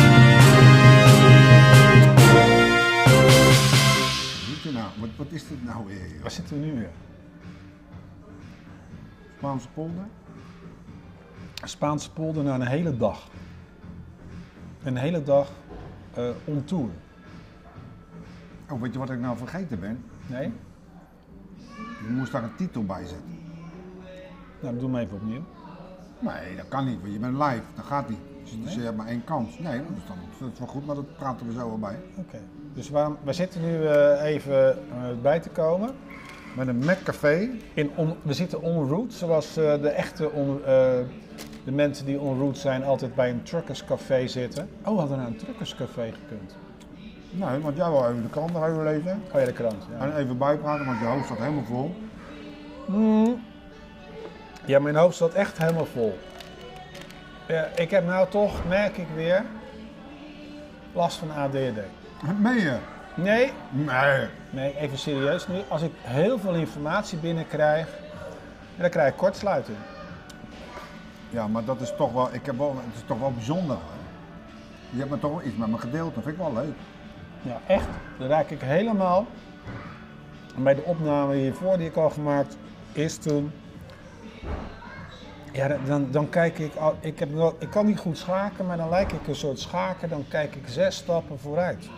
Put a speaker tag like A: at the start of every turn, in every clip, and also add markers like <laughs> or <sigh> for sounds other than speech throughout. A: nou,
B: Spaanse polder. Spaanse polder na een hele dag. Een hele dag eh on tour.
A: Oh, weet je wat ik nou vergeten ben?
B: Nee?
A: Je moest daar een titel bij zetten.
B: Nou, doe maar even opnieuw.
A: Nee, dat kan niet, want je bent live. Dat gaat niet. Dus, dus je hebt maar één kans. Nee, dat is dan dat is wel goed, maar dat praten we zo wel bij.
B: Oké. Dus waarom, wij zitten nu eh, even eh, bij te komen.
A: Met een Mac Café.
B: In on- we zitten on route, zoals eh, de echte on- eh, de mensen die on route zijn altijd bij een truckerscafé zitten. Oh, we hadden naar een truckerscafé gekund.
A: Nee, want jij wil even de krant nog even lezen.
B: Oh ja, de krant. Ja,
A: En even bijpraten, want je hoofd staat helemaal vol.
B: ja mijn hoofd zat echt helemaal vol. Ja, ik heb nou toch, merk ik weer, last van ADD.
A: Meen je?
B: Nee,
A: Nee.
B: nee, even serieus nu. Als ik heel veel informatie binnenkrijg, ja, dan krijg ik kortsluiting.
A: Ja, maar dat is toch wel, ik heb wel, het is toch wel bijzonder. hè? Je hebt me toch wel iets met me gedeeld, dat vind ik wel leuk.
B: Ja, echt. Dan raak ik helemaal. En bij de opname hiervoor die ik al gemaakt is toen. Ja, dan- dan, dan kijk ik. al- Ik, heb wel, ik kan niet goed schaken, maar dan lijk ik een soort schaker. Dan kijk ik zes stappen vooruit.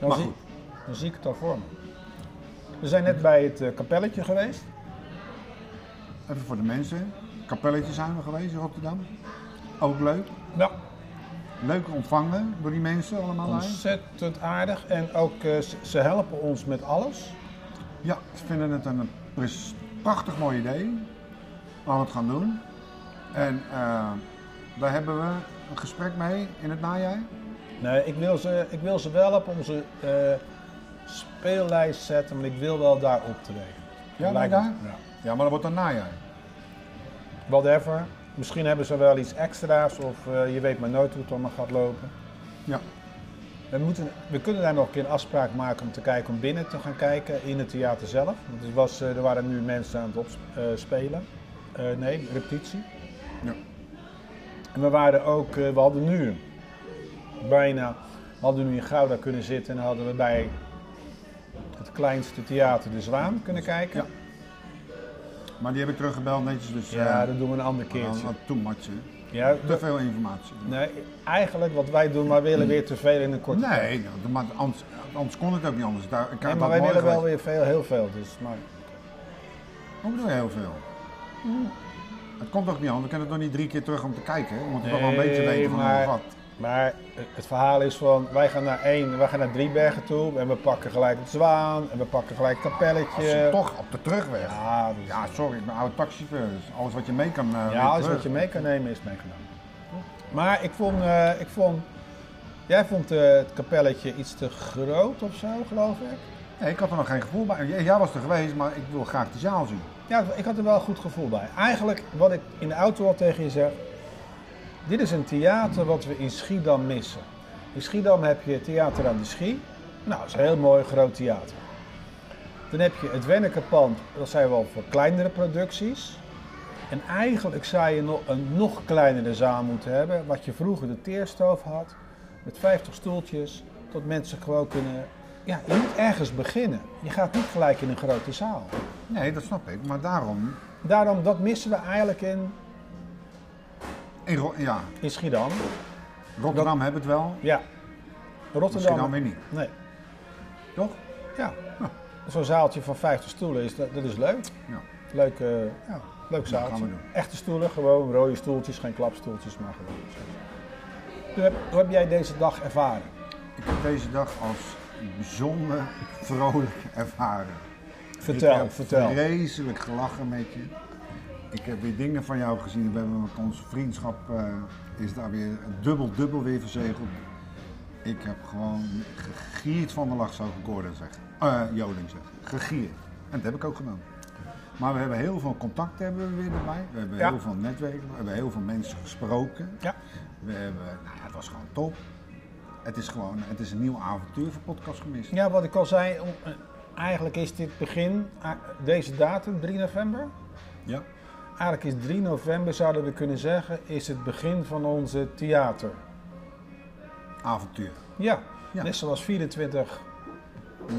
B: Dan,
A: Maar
B: zie,
A: goed.
B: dan zie ik het al voor me. We zijn net bij het eh, kapelletje geweest.
A: Even voor de mensen. Kapelletje zijn we geweest in Rotterdam. Ook leuk.
B: Ja,
A: Leuk ontvangen door die mensen allemaal. daar.
B: ontzettend aardig. En ook eh, ze- ze helpen ons met alles.
A: Ja, ze vinden het een pres- prachtig mooi idee. Waar we het gaan doen. En eh, daar hebben we een gesprek mee in het najaar.
B: Nee, ik wil ze, ik wil ze wel op onze eh, speellijst zetten, maar ik wil wel daar optreden.
A: Ja,
B: Lijkt
A: daar?
B: me- Ja.
A: Ja, maar dat wordt een najaar.
B: Whatever. Misschien hebben ze wel iets extra's of eh, je weet maar nooit hoe het allemaal gaat lopen.
A: Ja.
B: We, moeten, we kunnen daar nog een keer een afspraak maken om te kijken, om binnen te gaan kijken in het theater zelf. Want er, was, eh, er waren nu mensen aan het opspelen. Eh, nee, repetitie.
A: Ja.
B: En we waren ook, eh, we hadden nu bijna, we hadden nu in Gouda kunnen zitten en dan hadden we bij het kleinste theater De Zwaan kunnen kijken.
A: Ja. Maar die heb ik teruggebeld netjes, dus
B: Ja,
A: eh,
B: dat doen we een ander
A: dan-
B: keertje.
A: dan- too much. hè.
B: Ja,
A: Te veel informatie.
B: nee, eigenlijk wat wij doen, maar willen weer te veel in een korte tijd.
A: Nee, nou, maar anders, anders kon het ook niet anders. Daar, ik
B: Nee, maar wij willen wel weer veel, heel veel. Dus, maar,
A: Hoe bedoel je heel veel? Het komt ook niet anders. We kunnen het nog niet drie keer terug om te kijken. hè. We moeten toch wel een
B: Nee,
A: beetje weten van
B: maar-
A: maar... wat.
B: maar het verhaal is van, wij gaan naar één, wij gaan naar drie bergen toe en we pakken gelijk het Zwaan en we pakken gelijk
A: Als
B: het
A: je
B: kapelletje.
A: toch op de terugweg. Ja,
B: eh, Ja, dus- ja,
A: sorry, ik ben oude taxichauffeur. Dus alles wat je mee kan. eh, weer
B: alles
A: terug.
B: wat je mee kan nemen is meegenomen. Maar ik vond, eh, ik vond jij vond eh, het kapelletje iets te groot of zo, geloof ik.
A: Nee, ik had er nog geen gevoel bij. J- Jij was er geweest, maar ik wil graag de zaal zien.
B: Ja, ik had er wel een goed gevoel bij. Eigenlijk, wat ik in de auto al tegen je zeg, dit is een theater wat we in Schiedam missen. In Schiedam heb je Theater aan de Schie. Nou, dat is een heel mooi groot theater. Dan heb je het Wennekenpand, dat zijn wel voor kleinere producties. En eigenlijk zou je nog een nog kleinere zaal moeten hebben, wat je vroeger de teerstoof had, met 50 stoeltjes, dat mensen gewoon kunnen... Ja, je moet ergens beginnen. Je gaat niet gelijk in een grote zaal.
A: Nee, dat snap ik. Maar daarom.
B: Daarom, dat missen we eigenlijk in,
A: In Ro- ja,
B: in Schiedam.
A: Rotterdam hebben het wel.
B: Ja.
A: Schiedam
B: Rotterdam.
A: weer niet.
B: Nee.
A: Toch?
B: Ja. Zo'n zaaltje van 50 stoelen is, dat, dat is leuk.
A: Ja.
B: Leuk, eh, ja,
A: gaan
B: leuk zaaltje.
A: we doen.
B: Echte stoelen, gewoon rode stoeltjes, geen klapstoeltjes, maar gewoon. Hoe heb, hoe heb jij deze dag ervaren?
A: Ik heb deze dag als bijzonder vrolijk ervaren. ik
B: Vertel,
A: heb
B: vertel.
A: vreselijk gelachen met je. Ik heb weer dingen van jou gezien. We hebben onze vriendschap eh, is daar weer dubbel, dubbel weer verzegeld. Ik heb gewoon gegierd van de lach, zou ik Gordon zeggen. Eh, Joling zeggen. Gegierd. En dat heb ik ook gedaan. Maar we hebben heel veel contacten hebben we weer erbij. We hebben
B: Ja.
A: heel veel netwerken. We hebben heel veel mensen gesproken.
B: Ja.
A: We hebben, nou ja, het was gewoon top. Het is gewoon, het is een nieuw avontuur voor Podcast Gemist.
B: ja, wat ik al zei, om- eh, eigenlijk is dit begin, a- deze datum, 3 november.
A: Ja.
B: Eigenlijk is 3 november, zouden we kunnen zeggen, is het begin van onze theater.
A: Avontuur.
B: Ja,
A: Ja.
B: net zoals 24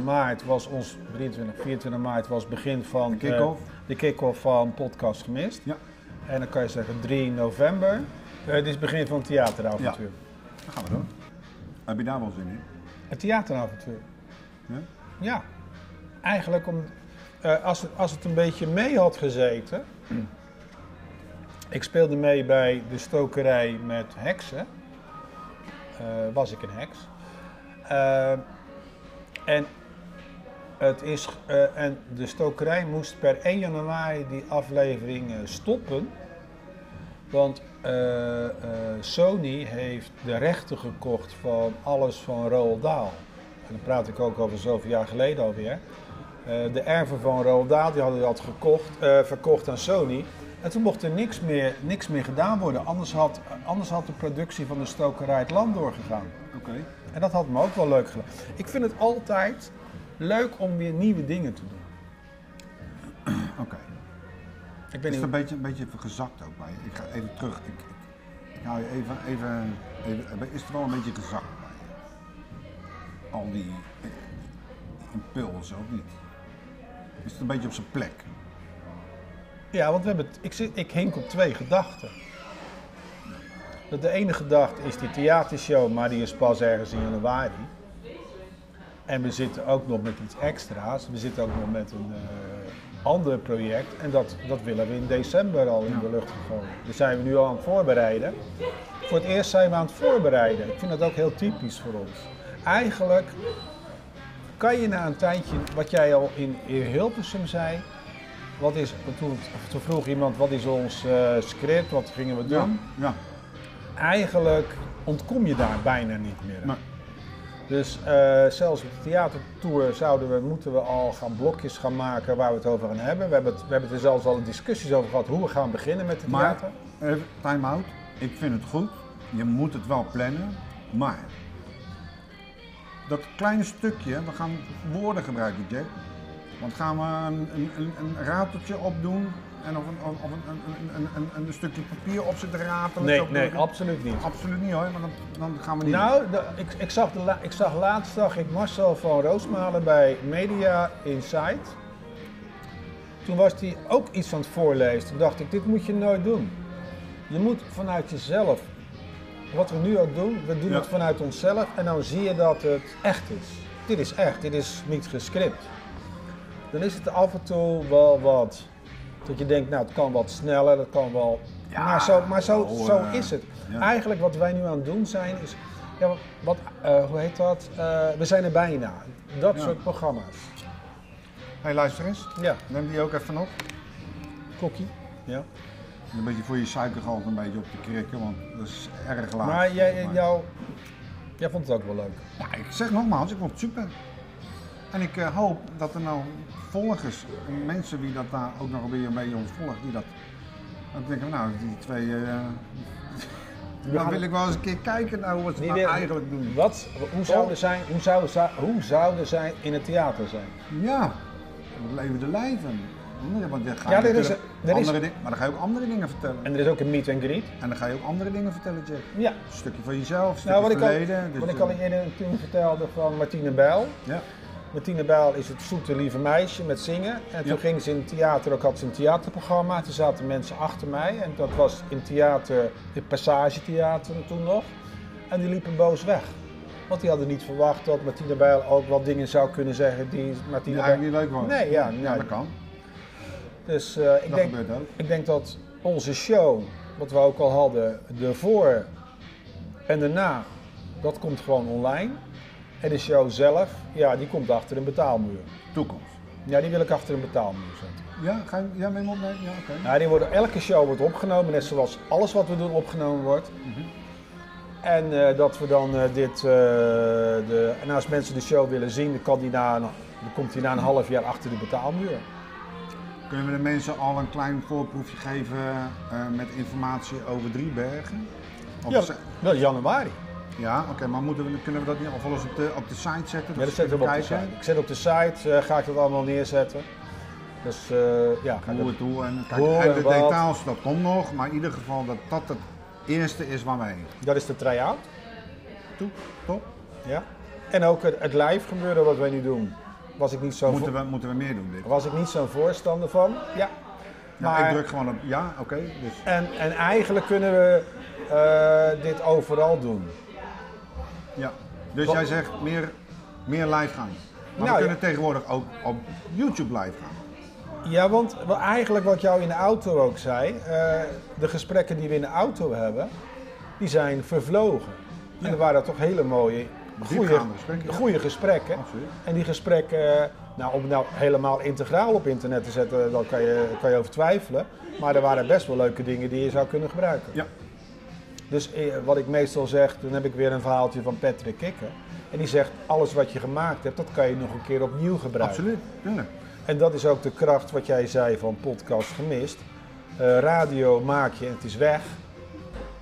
B: maart was ons, 23, 24 maart was begin van
A: De kick-off.
B: eh, de kick-off van Podcast Gemist.
A: Ja,
B: En dan kan je zeggen 3 november. Eh, dit is begin van het theateravontuur.
A: dan gaan we door. Heb je daar wel zin in?
B: Het theateravontuur.
A: Ja?
B: Ja, eigenlijk om, eh, als, het, als het een beetje mee had gezeten. Ik speelde mee bij de stokerij met heksen. Eh, was ik een heks. Eh, en, het is, eh, en de stokerij moest per 1 januari die aflevering eh, stoppen. Want eh, eh, Sony heeft de rechten gekocht van alles van Roald Dahl. En dan praat ik ook over zoveel jaar geleden alweer. Eh, de erven van Roald Dahl die hadden dat gekocht, eh, verkocht aan Sony. En toen mocht er niks meer, niks meer gedaan worden. Anders had, anders had de productie van de stokerij het land doorgegaan.
A: Oké.
B: En dat had me ook wel leuk gedaan. Ik vind het altijd leuk om weer nieuwe dingen te doen.
A: Oké.
B: Ik
A: Is
B: weet
A: het een
B: niet,
A: beetje, een beetje gezakt ook bij je? Ik ga even terug. Ik, ik, ik hou je even, even, even. Is het wel een beetje gezakt bij je? Al die eh, impulsen, ook niet? Is het een beetje op zijn plek?
B: ja, want we hebben het, ik, zit, ik hink op twee gedachten. Dat de ene gedachte is die theatershow, maar die is pas ergens in januari. En we zitten ook nog met iets extra's. We zitten ook nog met een eh, ander project. En dat, dat willen we in december al in de lucht gooien. Daar zijn we nu al aan het voorbereiden. Voor het eerst zijn we aan het voorbereiden. Ik vind dat ook heel typisch voor ons. Eigenlijk kan je na een tijdje, wat jij al in, in Hilversum zei. Wat is, toen, of toen vroeg iemand wat is ons eh, script, wat gingen we doen.
A: Ja.
B: Eigenlijk ontkom je daar bijna niet meer. aan.
A: Maar,
B: Dus eh, zelfs op de theatertour zouden we, moeten we al gaan blokjes gaan maken waar we het over gaan hebben. We hebben het, we hebben het er zelfs al discussies over gehad hoe we gaan beginnen met het
A: maar
B: theater.
A: even time out. Ik vind het goed. Je moet het wel plannen. Maar dat kleine stukje, we gaan woorden gebruiken, Jack. Want gaan we een, een, een, een rateltje opdoen en of een, of of een, een, een, een, een stukje papier op zitten ratelen?
B: Nee,
A: Zo-
B: nee, absoluut niet.
A: Absoluut niet hoor, want dan, dan gaan we niet.
B: Nou, de- ik, ik, zag de la- ik zag laatst zag ik Marcel van Roosmalen bij Media Insight. Toen was hij ook iets aan het voorlezen. Toen dacht ik, dit moet je nooit doen. Je moet vanuit jezelf, wat we nu ook doen, we doen
A: Ja.
B: het vanuit onszelf. En dan zie je dat het echt is. Dit is echt, dit is niet gescript. Dan is het af en toe wel wat, dat je denkt, nou het kan wat sneller, dat kan wel...
A: Ja,
B: maar zo, maar zo,
A: wel,
B: zo
A: eh,
B: is het.
A: ja.
B: Eigenlijk wat wij nu aan het doen zijn is, ja, wat, eh, hoe heet dat? Eh, we zijn er bijna. Dat
A: Ja.
B: soort programma's.
A: hey, luister eens.
B: Ja,
A: Neem die ook even op.
B: kokkie. Ja.
A: Een beetje voor je suikergehalte een beetje op te krikken, want dat is erg laag.
B: Maar jij,
A: Maar-
B: jou, jij vond het ook wel leuk.
A: Ja, ik zeg nogmaals, ik vond het super. En ik eh, hoop dat er nou volgers, en mensen die dat daar ook nog weer een beetje ons volgen, die dat. Dat denken, nou, die twee.
B: <laughs>
A: eh dan
B: gaan-
A: wil ik wel eens een keer kijken naar hoe we het
B: Die
A: nou
B: wil-
A: eigenlijk doen.
B: Wat, hoe, zouden zij, hoe, zouden, zij- hoe zouden zij in het theater zijn?
A: Ja, we leven de lijven. Want dan ga
B: Ja,
A: je
B: er is-
A: natuurlijk
B: er is-
A: andere dingen- maar dan ga je ook andere dingen vertellen.
B: En er is ook een meet and greet.
A: En dan ga je ook andere dingen vertellen, Jack.
B: Ja.
A: Een stukje van jezelf, een stukje
B: Nou, wat ik, al,
A: verleden. dus,
B: wat ik
A: eh,
B: al eerder toen vertelde van Martine Bijl.
A: Ja,
B: Martine Bijl is het zoete lieve meisje met zingen. En toen
A: Ja.
B: ging ze in het theater, ook had ze een theaterprogramma. Toen zaten mensen achter mij. En dat was in theater, het Passagetheater toen nog. En die liepen boos weg. Want die hadden niet verwacht dat Martine Bijl ook wat dingen zou kunnen zeggen die
A: die
B: Martine
A: eigenlijk niet leuk was.
B: Nee, ja, nee.
A: dat kan.
B: Dus eh, ik,
A: Dat
B: denk,
A: gebeurt ook.
B: ik denk dat onze show, wat we ook al hadden, de voor en de na, dat komt gewoon online. En de show zelf, ja, die komt achter een betaalmuur.
A: Toekomst.
B: Ja, die wil ik achter een betaalmuur zetten.
A: Ja, ga je ja, met hem opnemen? Ja, oké.
B: Nou, die worden, elke show wordt opgenomen, net zoals alles wat we doen opgenomen wordt. En eh, dat we dan eh, dit, eh, de, en als mensen de show willen zien, dan, kan die na, een- dan komt die na een half jaar achter de betaalmuur.
A: Kunnen we de mensen al een klein voorproefje geven eh, met informatie over Driebergen? Of
B: Ja,
A: ze-
B: dat is januari.
A: ja oké, maar moeten we, kunnen we dat niet alvast op de, op de site zetten?
B: Ja, dat
A: ze
B: zetten we op de
A: kunnen
B: site.
A: kijken
B: Ik zet op de site, eh, ga ik dat allemaal neerzetten. Dus eh, ja, ga
A: Hoe
B: ik dat-
A: het hoe en kijk,
B: Hoe
A: en
B: en
A: de
B: wat.
A: details, dat komt nog, maar in ieder geval dat dat het eerste is waar wij heen.
B: dat is de try-out.
A: Toe, top.
B: Ja. En ook het, het live gebeuren wat wij nu doen. was ik niet zo'n
A: Moeten we, moeten we meer doen dit?
B: vo- was ik niet zo'n voorstander van. Ja.
A: Ja,
B: Maar-
A: ik druk gewoon op ja, oké. dus
B: En, en eigenlijk kunnen we eh, dit overal doen.
A: ja. dus
B: Wat-
A: jij zegt meer, meer live gaan. Maar
B: Nou, ja.
A: we kunnen tegenwoordig ook op YouTube live gaan.
B: Ja, want wel eigenlijk wat jou in de auto ook zei, eh, de gesprekken die we in de auto hebben, die zijn vervlogen. En er waren toch hele mooie, goede,
A: Diepgaande gesprekken, ja.
B: goede gesprekken.
A: Absoluut.
B: En die gesprekken, eh, nou om het nou helemaal integraal op internet te zetten, daar kan je, kan je over twijfelen. Maar er waren best wel leuke dingen die je zou kunnen gebruiken.
A: Ja.
B: Dus eh, wat ik meestal zeg, dan heb ik weer een verhaaltje van Patrick Kikker. En die zegt, alles wat je gemaakt hebt, dat kan je nog een keer opnieuw gebruiken.
A: Absoluut, tuurlijk.
B: En dat is ook de kracht wat jij zei van podcast gemist. Eh, radio maak je en het is weg.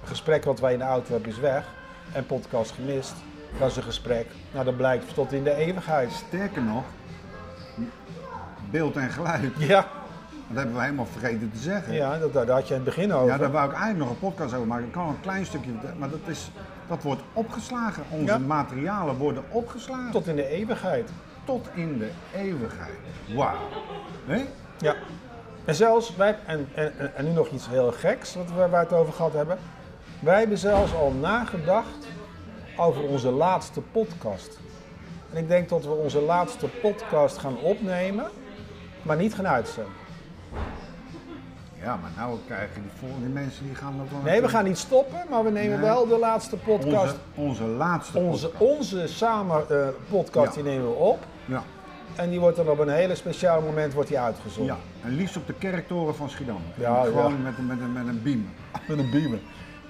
B: Een gesprek wat wij in de auto hebben is weg. En podcast gemist, dat is een gesprek. Nou, dat blijkt tot in de eeuwigheid.
A: Sterker nog, beeld en geluid,
B: Ja,
A: dat hebben we helemaal vergeten te zeggen.
B: ja dat, daar had je in het begin
A: Ja,
B: over.
A: daar wou ik eigenlijk nog een podcast over maken. Ik kan wel een klein stukje vertellen, maar dat, is, dat wordt opgeslagen. Onze
B: Ja.
A: materialen worden opgeslagen tot,
B: Tot in de eeuwigheid.
A: tot in de eeuwigheid. Wauw. Hé?
B: Ja. En zelfs, wij, en, en, en- en nu nog iets heel geks wat we, waar we het over gehad hebben. Wij hebben zelfs al nagedacht over onze laatste podcast. En ik denk dat we onze laatste podcast gaan opnemen, maar niet gaan uitzenden.
A: Ja, maar nou krijgen die volgende mensen die gaan nog wel...
B: Nee, we gaan niet stoppen, maar we nemen
A: Nee.
B: wel de laatste podcast.
A: Onze, onze laatste
B: Onze,
A: podcast.
B: onze samen eh, podcast,
A: Ja.
B: die nemen we op.
A: Ja.
B: En die wordt dan op een hele speciaal moment wordt die uitgezonden.
A: ja, en liefst op de kerktoren van Schiedam.
B: Ja,
A: Gewoon
B: ja.
A: Met, een- met, een- met een beam.
B: Met een bieber.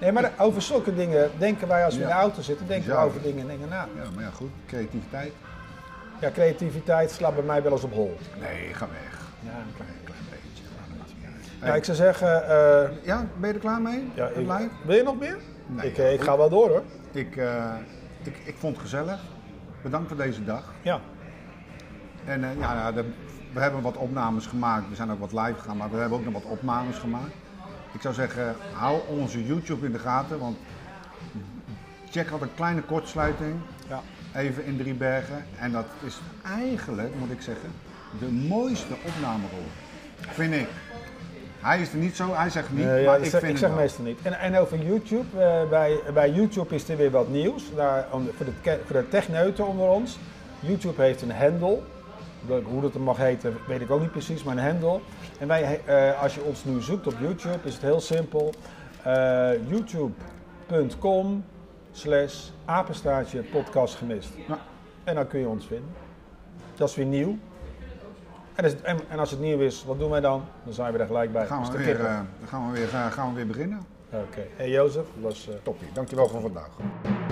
B: Nee, maar de- over zulke dingen denken wij als we in de
A: Ja.
B: auto zitten, denken we
A: Bizar.
B: over dingen en dingen na.
A: Ja, maar ja, goed. Creativiteit.
B: Ja, creativiteit slaat bij mij wel eens op hol.
A: Nee, ga weg.
B: Ja,
A: Een klein beetje. maar dat maakt niet uit.
B: ik zou zeggen, eh,
A: Ja, ben je er klaar mee?
B: ja,
A: Het
B: ik-
A: lijkt?
B: wil je nog meer?
A: Nee,
B: ik,
A: ja,
B: eh, ik ga wel door hoor.
A: Ik, eh, ik, ik vond het gezellig. Bedankt voor deze dag.
B: Ja.
A: En eh, ja, ja, de- we hebben wat opnames gemaakt. We zijn ook wat live gegaan, maar we hebben ook nog wat opnames gemaakt. Ik zou zeggen, hou onze YouTube in de gaten, want check had een kleine kortsluiting.
B: ja.
A: Even in Driebergen. En dat is eigenlijk, moet ik zeggen, de mooiste opnamerol. Vind ik. Hij is er niet zo, hij zegt niet,
B: Eh, ja,
A: maar
B: ik
A: ik
B: zeg,
A: vind het
B: ik zeg
A: wel.
B: meestal niet. En, en over YouTube, eh, bij, bij YouTube is er weer wat nieuws. Daar, om, voor, de, ke- voor de techneuten onder ons. YouTube heeft een handle. Dat- Hoe dat hem mag heten, weet ik ook niet precies, maar een handle. En wij, he- eh, als je ons nu zoekt op YouTube, is het heel simpel. Eh, YouTube.com slash apenstaartje podcast gemist.
A: Ja.
B: En dan kun je ons vinden. Dat is weer nieuw. En als, het, en, en als het nieuw is, wat doen wij dan? Dan zijn we er gelijk bij.
A: Gaan
B: Dus
A: we,
B: de
A: weer,
B: kippen.
A: eh, gaan, we weer, eh, gaan we weer beginnen?
B: Oké. Hey Jozef, dat was... eh,
A: Toppie, dankjewel voor vandaag.